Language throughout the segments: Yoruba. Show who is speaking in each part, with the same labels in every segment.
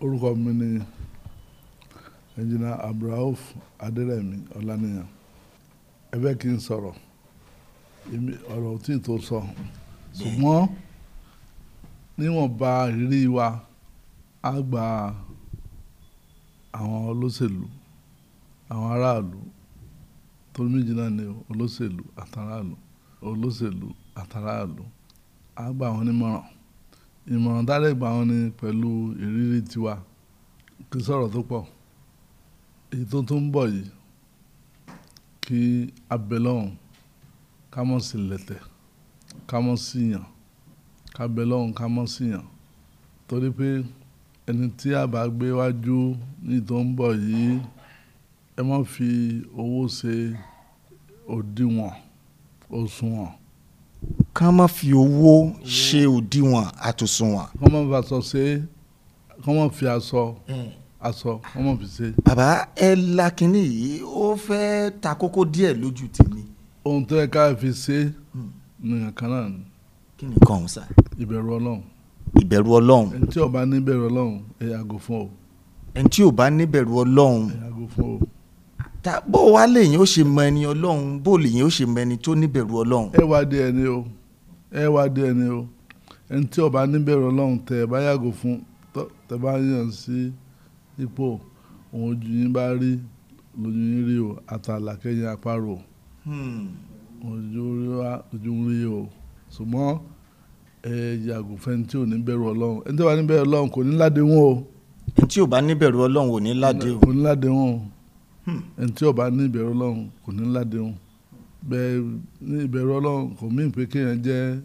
Speaker 1: orúkọ mi ni ẹnjìnà abdulrauf adérẹ̀mí ọláníyàn ẹ fẹ́ kí n sọ̀rọ̀ èmi ọ̀rọ̀ tí tó sọ ṣùgbọ́n níwọ̀nba ìrírí wa á gba àwọn olóṣèlú àwọn aráàlú tó méjì náà ni olóṣèlú àtàràlú olóṣèlú àtàràlú á gba àwọn onímọ̀ràn ìmọ̀ràn dálẹ̀ gbà wọn ni pẹ̀lú ìrírí tiwa kí sọ̀rọ̀ tó pọ̀ èyí tó tún ń bọ̀ yìí kí abẹ́lọ́hùn ká mọ̀ sí lẹ̀tẹ̀ ká mọ̀ sí yàn kábẹ́lọ́hùn ká mọ̀ sí yàn torí pé ẹni tí a bá gbé wájú ní tó ń bọ̀ yìí ẹ má fi owó ṣe òdiwọ̀n òṣùwọ̀n
Speaker 2: kán má fi owó ṣe òdiwọ̀n àtòsùnwọ̀n.
Speaker 1: kọ́mọ fi aṣọ ṣe é kọ́mọ fi aṣọ
Speaker 2: Hmm.
Speaker 1: aṣọ kọ́mọ fi ṣe é.
Speaker 2: bàbá ẹ la kínní yìí ó fẹ́ ta kókó díẹ̀ lójú tèmi.
Speaker 1: ohun tó yẹ ká fi ṣe é nìyẹn kan náà ni
Speaker 2: kí ni kàn sá.
Speaker 1: ìbẹ̀rù ọlọ́run
Speaker 2: ìbẹ̀rù ọlọ́run
Speaker 1: ẹni tí ó bá níbẹ̀rù ọlọ́run ẹ yàgò fún o
Speaker 2: ẹni tí ò bá níbẹ̀rù ọlọ́run
Speaker 1: ẹ yàgò fún o.
Speaker 2: ta bó wá lèyìn ó ṣe mọ ẹni ọlọ́run bó lèyìn ó ṣe mọ ẹni tó níbẹ̀rù ọlọ́run.
Speaker 1: ẹ wá di ẹni o ẹ wá di ẹni o ẹni tí ó bá níbẹ̀rù ọlọ́run tẹ ẹ bá yàgò fún tọ- tẹ bá yàn sí ipò òun ojú yín bá rí lójú yín rí o àtàlà kẹyìn àparò
Speaker 2: Hmm.
Speaker 1: ojú rí wa ojú rí o ṣùgbọ́n ẹ yàgò fẹ́ni tí ò níbẹ̀rù ọlọ́run ẹni tí ó bá níbẹ̀rù ọlọ́run kò ní ládéhùn o
Speaker 2: ẹni tí ò bá níbẹ̀rù ọlọ́run ò ní ládé o.
Speaker 1: kò ní ládéhùn o ẹni tí ó bá ní ìbẹ̀rù ọlọ́run kò ní ládéhùn bẹ́ẹ̀ ní ìbẹ̀rù ọlọ́run kò mí pé kéèyàn jẹ́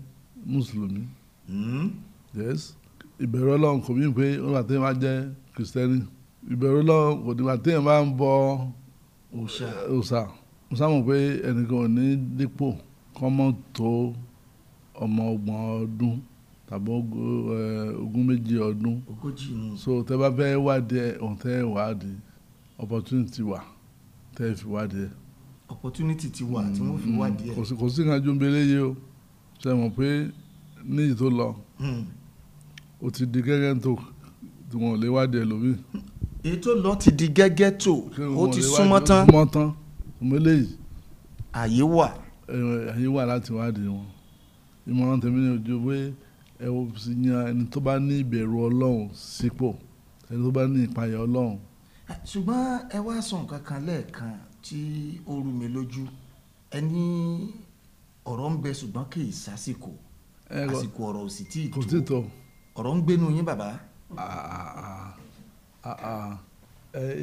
Speaker 1: mùsùlùmí
Speaker 2: Hmm.
Speaker 1: yes ìbẹ̀rù ọlọ́run kò mí pé ó wà téèyàn bá jẹ́ kìrìsìtẹ́nì ìbẹ̀rù ọlọ́run kò ní wà téèyàn bá ń bọ
Speaker 2: òòṣà.
Speaker 1: òòṣà mo sábà pé ẹnìkan ò ní dípò kọ́ mọ́ tó ọmọ ọgbọ̀n ọdún tàbí ogún eh, ogún méjì ọdún
Speaker 2: ogójì nù.
Speaker 1: so tẹ bá fẹ́ wádìí ẹ òun tẹ́ wádìí opportunity wà tẹ́ fi wádìí ẹ
Speaker 2: opportunity ti wà tí wọ́n fi
Speaker 1: Mm,
Speaker 2: wádìí
Speaker 1: kò
Speaker 2: ẹ̀.
Speaker 1: sí kò sí nǹkan ju mbélé yìí o ṣe mọ̀ pé níyì tó lọ
Speaker 2: Hmm.
Speaker 1: o ti di gẹ́gẹ́ tó tí wọn ò lè wádìí ẹlòmíì.
Speaker 2: èyí tó lọ ti di gẹ́gẹ́ tó
Speaker 1: Kí wọn
Speaker 2: ó
Speaker 1: ò
Speaker 2: ti
Speaker 1: lè
Speaker 2: súnmọ́
Speaker 1: wádìí-
Speaker 2: tán
Speaker 1: súnmọ́ tán ìmọ̀lẹ́ yìí
Speaker 2: àyè wà.
Speaker 1: ẹ̀yin wà láti wádìí wọn ìmọ̀ràn tèmi ni ojú pé ẹ ò sì yan ẹni tó bá ní ìbẹ̀rù ọlọ́run sípò ẹni tó bá ní ìpayà ọlọ́run.
Speaker 2: ṣùgbọ́n ẹ wá sọ nǹkan kan lẹ́ẹ̀kan tí ó rú mi lójú ẹ ní ọ̀rọ̀ ń bẹ ṣùgbọ́n kì í sásìkò
Speaker 1: ẹ kò-
Speaker 2: àsìkò ọ̀rọ̀ ò sì tí ì
Speaker 1: kò tí
Speaker 2: tó
Speaker 1: tó
Speaker 2: ọ̀rọ̀ ń gbénu yín bàbá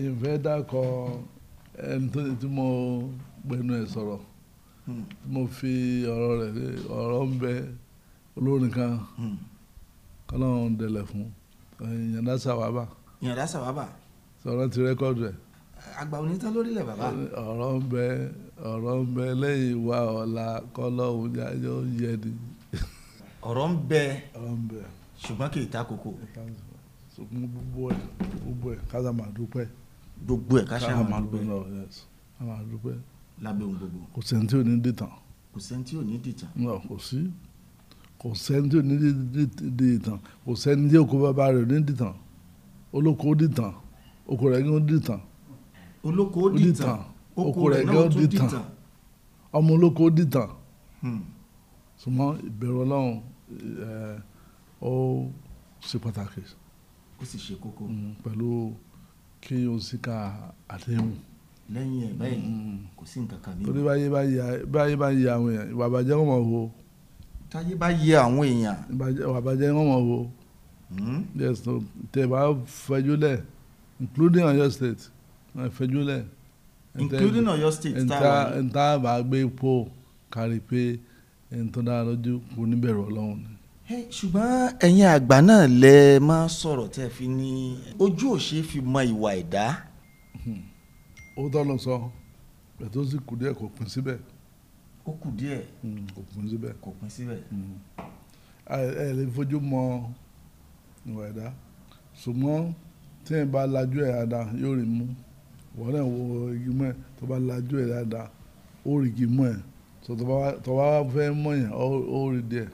Speaker 1: ìfẹ́ dákọ ẹni tó ti mọ gbẹnu ẹ sọ̀rọ̀.
Speaker 2: Hmm.
Speaker 1: mo fi ọ̀rọ̀ rẹ̀ lé ọ̀rọ̀ ń bẹ olórin kan
Speaker 2: Hmm.
Speaker 1: kọ́lọ́run dẹlẹ̀ fún ìyànda sàwábà
Speaker 2: ìyànda sàbábà
Speaker 1: sọ̀rọ̀ ti rẹ́kọ̀dù ẹ̀
Speaker 2: àgbà onítàn lórílẹ̀ bàbá
Speaker 1: Ah. ọ̀rọ̀ ń bẹ ọ̀rọ̀ ń bẹ lẹ́yìn wa ọ̀la kọ́lọ́run yáyọ́ yẹni
Speaker 2: ọ̀rọ̀ ń bẹ
Speaker 1: ọ̀rọ̀ ń bẹ
Speaker 2: ṣùgbọ́n kì í ta kókó
Speaker 1: ṣùgbọ́n gbogbo ẹ̀ gbogbo ẹ̀ ká sá máa dúpẹ́
Speaker 2: gbogbo ẹ̀ ká ṣáà máa gbẹ
Speaker 1: lọ yes ká máa dúpẹ́
Speaker 2: lábẹ́ ohun gbogbo
Speaker 1: kò sẹ́ni tí ò ní dìtàn
Speaker 2: kò sẹ́ni tí ò ní dìjà
Speaker 1: náà kò sí kò sẹ́ni tí ò ní dì- dì- dìtàn kò sẹ́ni tí òkú bàbá rẹ̀ ò ní dìtàn olóko ó dìtàn oko rẹ̀ gan ó dìtàn
Speaker 2: olóko ó
Speaker 1: Ó
Speaker 2: dìtàn
Speaker 1: dìtàn.
Speaker 2: oko
Speaker 1: Oko
Speaker 2: rẹ̀
Speaker 1: rẹ̀
Speaker 2: náà
Speaker 1: gan
Speaker 2: ó tún
Speaker 1: dìtàn.
Speaker 2: dìtàn
Speaker 1: ọmọ olóko ó dìtàn
Speaker 2: Hmm.
Speaker 1: ṣùgbọ́n ìbẹ̀rù ọlọ́run ẹ̀, ó ṣe pàtàkì
Speaker 2: ó sì ṣe kókó
Speaker 1: Mm, pẹ̀lú kí o sì ka àdéhùn
Speaker 2: lẹ́yìn ẹ̀ báyìí
Speaker 1: Mm.
Speaker 2: kò sí nǹkan kan
Speaker 1: torí
Speaker 2: nínú.
Speaker 1: báyé bá ya báyé bá ya àwọn èèyàn ìwà àbàjẹ́ wọn mọ̀ wo
Speaker 2: táyé bá yẹ àwọn èèyàn
Speaker 1: ìbàjẹ́- ìwà àbàjẹ́ wọn mọ̀ wo
Speaker 2: hmm,
Speaker 1: yes no tẹ́ bá fẹjú lẹ̀ including Ọ̀yọ́ state ẹ fẹjú lẹ̀.
Speaker 2: including Ọ̀yọ́ state tá a wà ní.
Speaker 1: nta bá gbé po kárí pé ẹni tó dára lójú kò ní bẹ̀rù ọlọ́run ni.
Speaker 2: Hey, ṣùgbọ́n ẹ̀yin àgbà náà lẹ máa sọ̀rọ̀ tẹ́ ẹ fi ní ojú òṣè fi mọ ìwà ẹ̀dá
Speaker 1: ó tọ́ lọ sọ ètò sì kù díẹ̀ kò pín síbẹ̀
Speaker 2: ó kù díẹ̀
Speaker 1: Mm, kò pín síbẹ̀
Speaker 2: kò pín síbẹ̀.
Speaker 1: Mm. ẹ ẹ lè fojú mọ ìwà ẹ̀dá ṣùgbọ́n tí ẹ bá lajú ẹ̀ dáadáa yóò rí mú wọ́n náà wo igi mọ́ ẹ̀ tó bá lajú ẹ̀ dáadáa ó rí igi mọ́ ẹ̀ tó tó bá wá- tó bá wá fẹ́ mọ̀ yẹn ó- ó rí díẹ̀.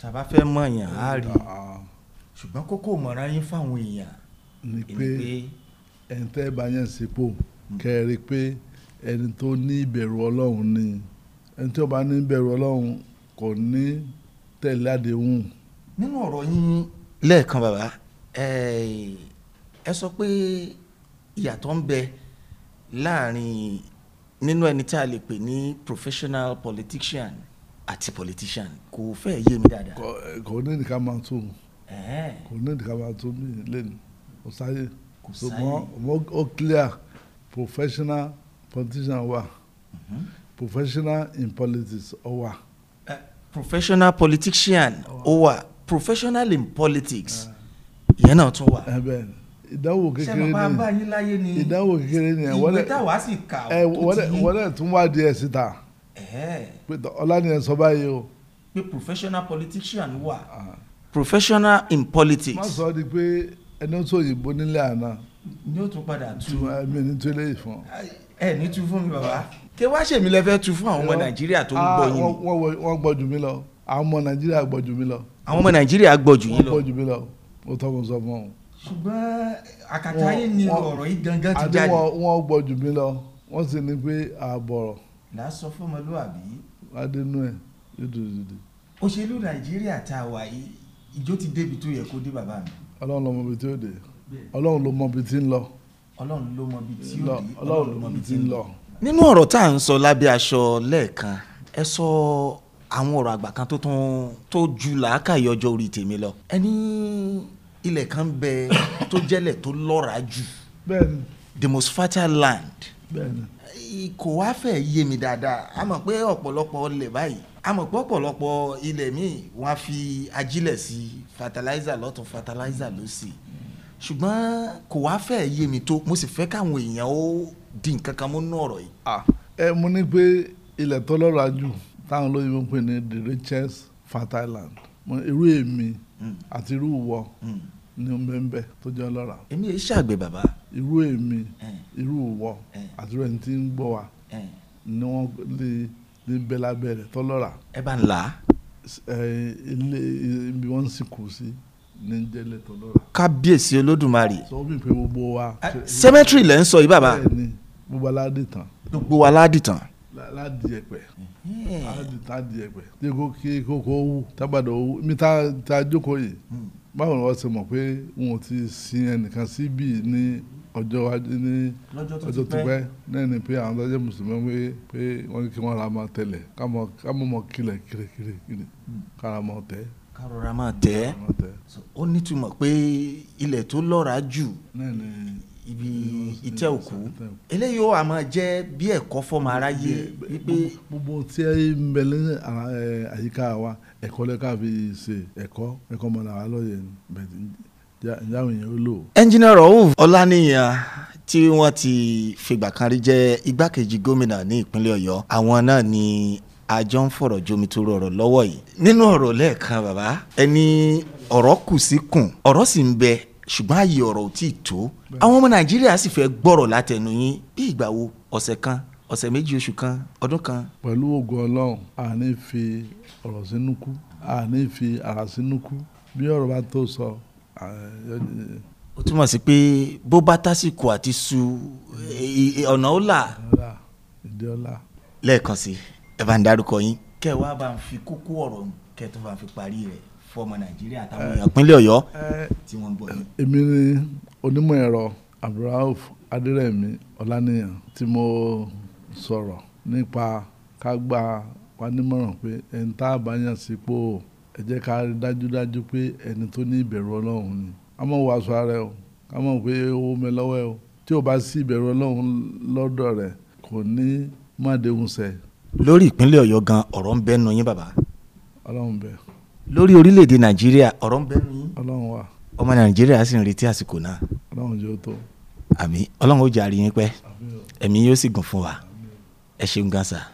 Speaker 2: tàbá fẹ́ mọ èèyàn á rí i
Speaker 1: Ah, ah.
Speaker 2: ṣùgbọ́n kókó mọ̀ra yín fáwọn èèyàn
Speaker 1: ni
Speaker 2: ìní
Speaker 1: pé
Speaker 2: pé Mm.
Speaker 1: ẹni tẹ́ bá yàn sípò kẹ́rí pé ẹni tó ní ìbẹ̀rù ọlọ́run ni ẹni tí ó bá ní ìbẹ̀rù ọlọ́run kò ní tẹ̀lé àdéhùn
Speaker 2: nínú ọ̀rọ̀ yín lẹ́ẹ̀kan bàbá eh, ẹ sọ pé ìyàtọ̀ ń bẹ láàrin nínú ẹni tí a lè pè ní professional politician àti politician kò fẹ́ yé mi dáadáa.
Speaker 1: Kò- kò ní nìkan máa tó
Speaker 2: Ẹ̀hẹ́n.
Speaker 1: kò ní nìkan máa tó mí lẹ́nu kò sáyé
Speaker 2: Kò
Speaker 1: ṣùgbọ́n
Speaker 2: sáyé.
Speaker 1: mo- ó clear professional politician wà
Speaker 2: Mm-hmm.
Speaker 1: professional in politics ó wà
Speaker 2: Eh, professional politician ó wà professional in politics ìyẹn náà tún wà.
Speaker 1: ẹ bẹ́ẹ̀ ni ìdánwò kékeré
Speaker 2: bá
Speaker 1: ni
Speaker 2: yín láyé ni
Speaker 1: ìdánwò kékeré ni Eh, ẹ wọ́n dẹ̀-
Speaker 2: táwa sì kà
Speaker 1: ẹ wọ́n dẹ̀- wọ́n dẹ̀ tún wá díẹ̀ síta
Speaker 2: ẹ̀ẹ́
Speaker 1: pé ọlánìyẹn sọ báyìí o.
Speaker 2: pé professional politician wà
Speaker 1: Ah.
Speaker 2: professional in
Speaker 1: má
Speaker 2: politics
Speaker 1: sọ ọ́ di pé ẹni tó òyìnbó nílé àná
Speaker 2: ni ó tún padà
Speaker 1: tí
Speaker 2: tu
Speaker 1: mi ní tó lè fún ọ.
Speaker 2: ẹ ní tu fún mi bàbá ké wá ṣèmi lẹ fẹ́ tu fún àwọn ọmọ nàìjíríà tó ń gbọ́ yín
Speaker 1: Ah,
Speaker 2: ni
Speaker 1: wọ́n wọ- wọ́n gbọ́ jù mí lọ àwọn ọmọ nàìjíríà gbọ́ jù mí lọ
Speaker 2: àwọn ọmọ nàìjíríà gbọ́ jù
Speaker 1: wọ́n
Speaker 2: yín lọ.
Speaker 1: gbọ́ jù mí lọ mo tọ́ mo sọ fún ọ.
Speaker 2: ṣùgbọ́n
Speaker 1: àkàtà ayé ni ọ̀rọ̀
Speaker 2: yìí gangan
Speaker 1: àti wọ́n- wọ́n gbọ́ jù mí lọ wọ́n sì ní pé àbọ̀rọ̀
Speaker 2: là á sọ fọmọlúwàbí
Speaker 1: adínú ẹ̀ dídùdùdù
Speaker 2: òṣèlú nàìjíríà tá a wà yìí ìjó ti débi tó yẹ kó dé bàbá mi
Speaker 1: ọlọ́run ló mọ ibi tí ó dé ọlọ́run ló mọ ibi tí ń lọ
Speaker 2: ọlọ́run ló mọ ibi tí ó
Speaker 1: lọ-
Speaker 2: dé
Speaker 1: ọlọ́run ló mọ ibi tí ń lọ.
Speaker 2: nínú ọ̀rọ̀ tá à ń sọ lábẹ́ aṣọ lẹ́ẹ̀kan ẹ sọ àwọn ọ̀rọ̀ àgbà kan tó tún tó ju làákàyè ọjọ́ orí tèmi lọ. ẹ ní ilẹ̀ kan bẹ tó jẹ́lẹ̀ tó lọ́ra jù
Speaker 1: bẹ́ẹ̀ni
Speaker 2: the most fertile land
Speaker 1: bẹ́ẹ̀ni
Speaker 2: I- kò wá fẹ́ yé mi dáadáa a mọ̀ pé ọ̀pọ̀lọpọ̀ ilẹ̀ báyìí a mọ̀ pé ọ̀pọ̀lọpọ̀ ilẹ̀ míì wọ́n á fi ajílẹ̀ sí fertilizer lọ́tún fertilizer lọ́sì ṣùgbọ́n kò wá fẹ́ yé mi tó mo sì fẹ́ káwọn èèyàn ó di nǹkan kan mú nú ọ̀rọ̀ yìí.
Speaker 1: Ah, ẹ mo ní pé ilẹ̀ tó lọ́rọ̀ ajù táwọn olóyìnbó ń pè ní the richest fertile land mo ní irú èmi àti irú ìwọ
Speaker 2: Mm.
Speaker 1: ni mbẹ́mbẹ́ tó jẹ́ ọlọ́ra
Speaker 2: èmi yìí ṣàgbẹ̀ bàbá
Speaker 1: irú èmi
Speaker 2: Eh.
Speaker 1: irú ìwọ
Speaker 2: Eh.
Speaker 1: àti irú ẹni tí ń gbọ́ wa
Speaker 2: ẹ
Speaker 1: ni wọ́n lè lè bẹ lábẹ́ rẹ̀ tó lọ́ra
Speaker 2: ẹ bá ń là á.
Speaker 1: S- ẹ, ilé ibi wọ́n ń sìnkú sí ní ń jẹ́lẹ̀ tó lọ́ra
Speaker 2: kábíyèsí olódùmarè
Speaker 1: sọ wọ́n bí pé gbogbo wa
Speaker 2: cemetery lẹ́ ń sọ yìí bàbá
Speaker 1: bẹ́ẹ̀ni gbogbo aládé tán
Speaker 2: gbogbo wa ládìtàn.
Speaker 1: lá- láti ẹ̀pẹ̀. adi ta di ẹgbẹ ní kó kí kókó wú tábàdà owó mi ta ta jókòó yìí báwo ni wọ́n ṣe mọ̀ pé wọn ò ti sin ẹnìkan síbí ní ọjọ́ iwájú ní
Speaker 2: lọ́jọ́
Speaker 1: ọjọ́ tó pẹ́ náà ni pé àwọn tọ́jú mùsùlùmí pé pé wọ́n ní kí wọ́n ra máa tẹ̀lẹ̀ kámọ́ mọ́ kílẹ̀ kílẹ̀ kílẹ̀ kílẹ̀ kára mọ́ tẹ́
Speaker 2: kárọra máa tẹ̀ ẹ́
Speaker 1: mọ́ tẹ́
Speaker 2: ó nítumọ̀ pé ilẹ̀ tó lọ́ra jù
Speaker 1: náà ni
Speaker 2: ibi
Speaker 1: Mm,
Speaker 2: ìtẹ́
Speaker 1: mm,
Speaker 2: òkú
Speaker 1: ìtẹ́ òkú.
Speaker 2: eléyìí ó àmọ́ jẹ́ bí ẹ̀kọ́ fọ́mọ aráyé wípé
Speaker 1: gbogbo e tí ẹ ń bẹ ní ara- ẹ, àyíká eh, wa ẹ̀kọ́ lẹ́ka fi ṣe ẹ̀kọ́ ẹ̀kọ́ mọ́ làwa lọ́yẹ̀ ni bẹ̀ẹ́ ǹjẹ́ àwọn èèyàn ó lò ó.
Speaker 2: engineer rauf ọláníyàn tí wọ́n ti fìgbà kan rí jẹ́ igbákejì gómìnà ní ìpínlẹ̀ ọ̀yọ́ àwọn náà ni àjọ ń fọ̀rọ̀ jomi tó rọrọ̀ lọ́wọ́ yìí nínú ọ̀rọ̀ lẹ́ẹ̀kan bàbá ẹni ọ̀rọ̀ kù sí kùn ọ̀rọ̀ sì ń bẹ ṣùgbọ́n ààyè ọ̀rọ̀ ò tí ì tó àwọn ọmọ nàìjíríà sì fẹ́ gbọ́rọ̀ látẹnu yín bí ìgbà wo ọ̀sẹ̀ kan ọ̀sẹ̀ méjì oṣù kan ọdún kan
Speaker 1: pẹ̀lú ògùn ọlọ́run àní fi ọ̀rọ̀ sínú kú àní fi ara sínú kú bí ọ̀rọ̀ bá tó sọ eh, àyè-
Speaker 2: ó túmọ̀ sí pé bó bá tásìkò àti su e- e- ọ̀nà ó là
Speaker 1: ọ̀la ìdí ọ̀la.
Speaker 2: lẹ́ẹ̀kan sí ẹ bá ń dárúkọ yín. kẹ́ wá bá ń fi kókó ọ̀rọ̀ kẹ́ tó bá ń fi parí rẹ̀ fọmọ nàìjíríà táwọn èèyàn ìpínlẹ̀ ọ̀yọ́ tí wọ́n ń bọ̀ yìí.
Speaker 1: èmi ni onímọ̀ ẹ̀rọ abdulrauf adérẹ̀mí ọláníyàn tí mo sọ̀rọ̀ nípa ká gbà wá nímọ̀ràn pé ẹni tá a bá yàn sípò ẹ jẹ́ ká rí dájúdájú pé ẹni tó ní ìbẹ̀rù ọlọ́run ni a mọ̀ wàásù ara ẹ o ká mọ̀ pé owó mi lọ́wọ́ ẹ o tí o bá sí ìbẹ̀rù ọlọ́run lọ́dọ̀ rẹ̀ kò ní mọ̀déhùn sẹ̀
Speaker 2: lórí ìpínlẹ̀ ọ̀yọ́ gan ọ̀rọ̀ ń bẹ́nu yín bàbá.
Speaker 1: ọlọ́run bẹ̀
Speaker 2: lórí orílẹ̀-èdè nàìjíríà ọ̀rọ̀ ń bẹ́nu yín.
Speaker 1: ọlọ́run wà
Speaker 2: ọmọ nàìjíríà sì ń retí àsìkò náà.
Speaker 1: ọlọ́run jẹ́ ó tó
Speaker 2: àmì ọlọ́run ó jẹ́ àrí yín pẹ́
Speaker 1: àbí o.
Speaker 2: ẹ̀mí yóò sì gùn fún wa ẹ ṣeun gan sa.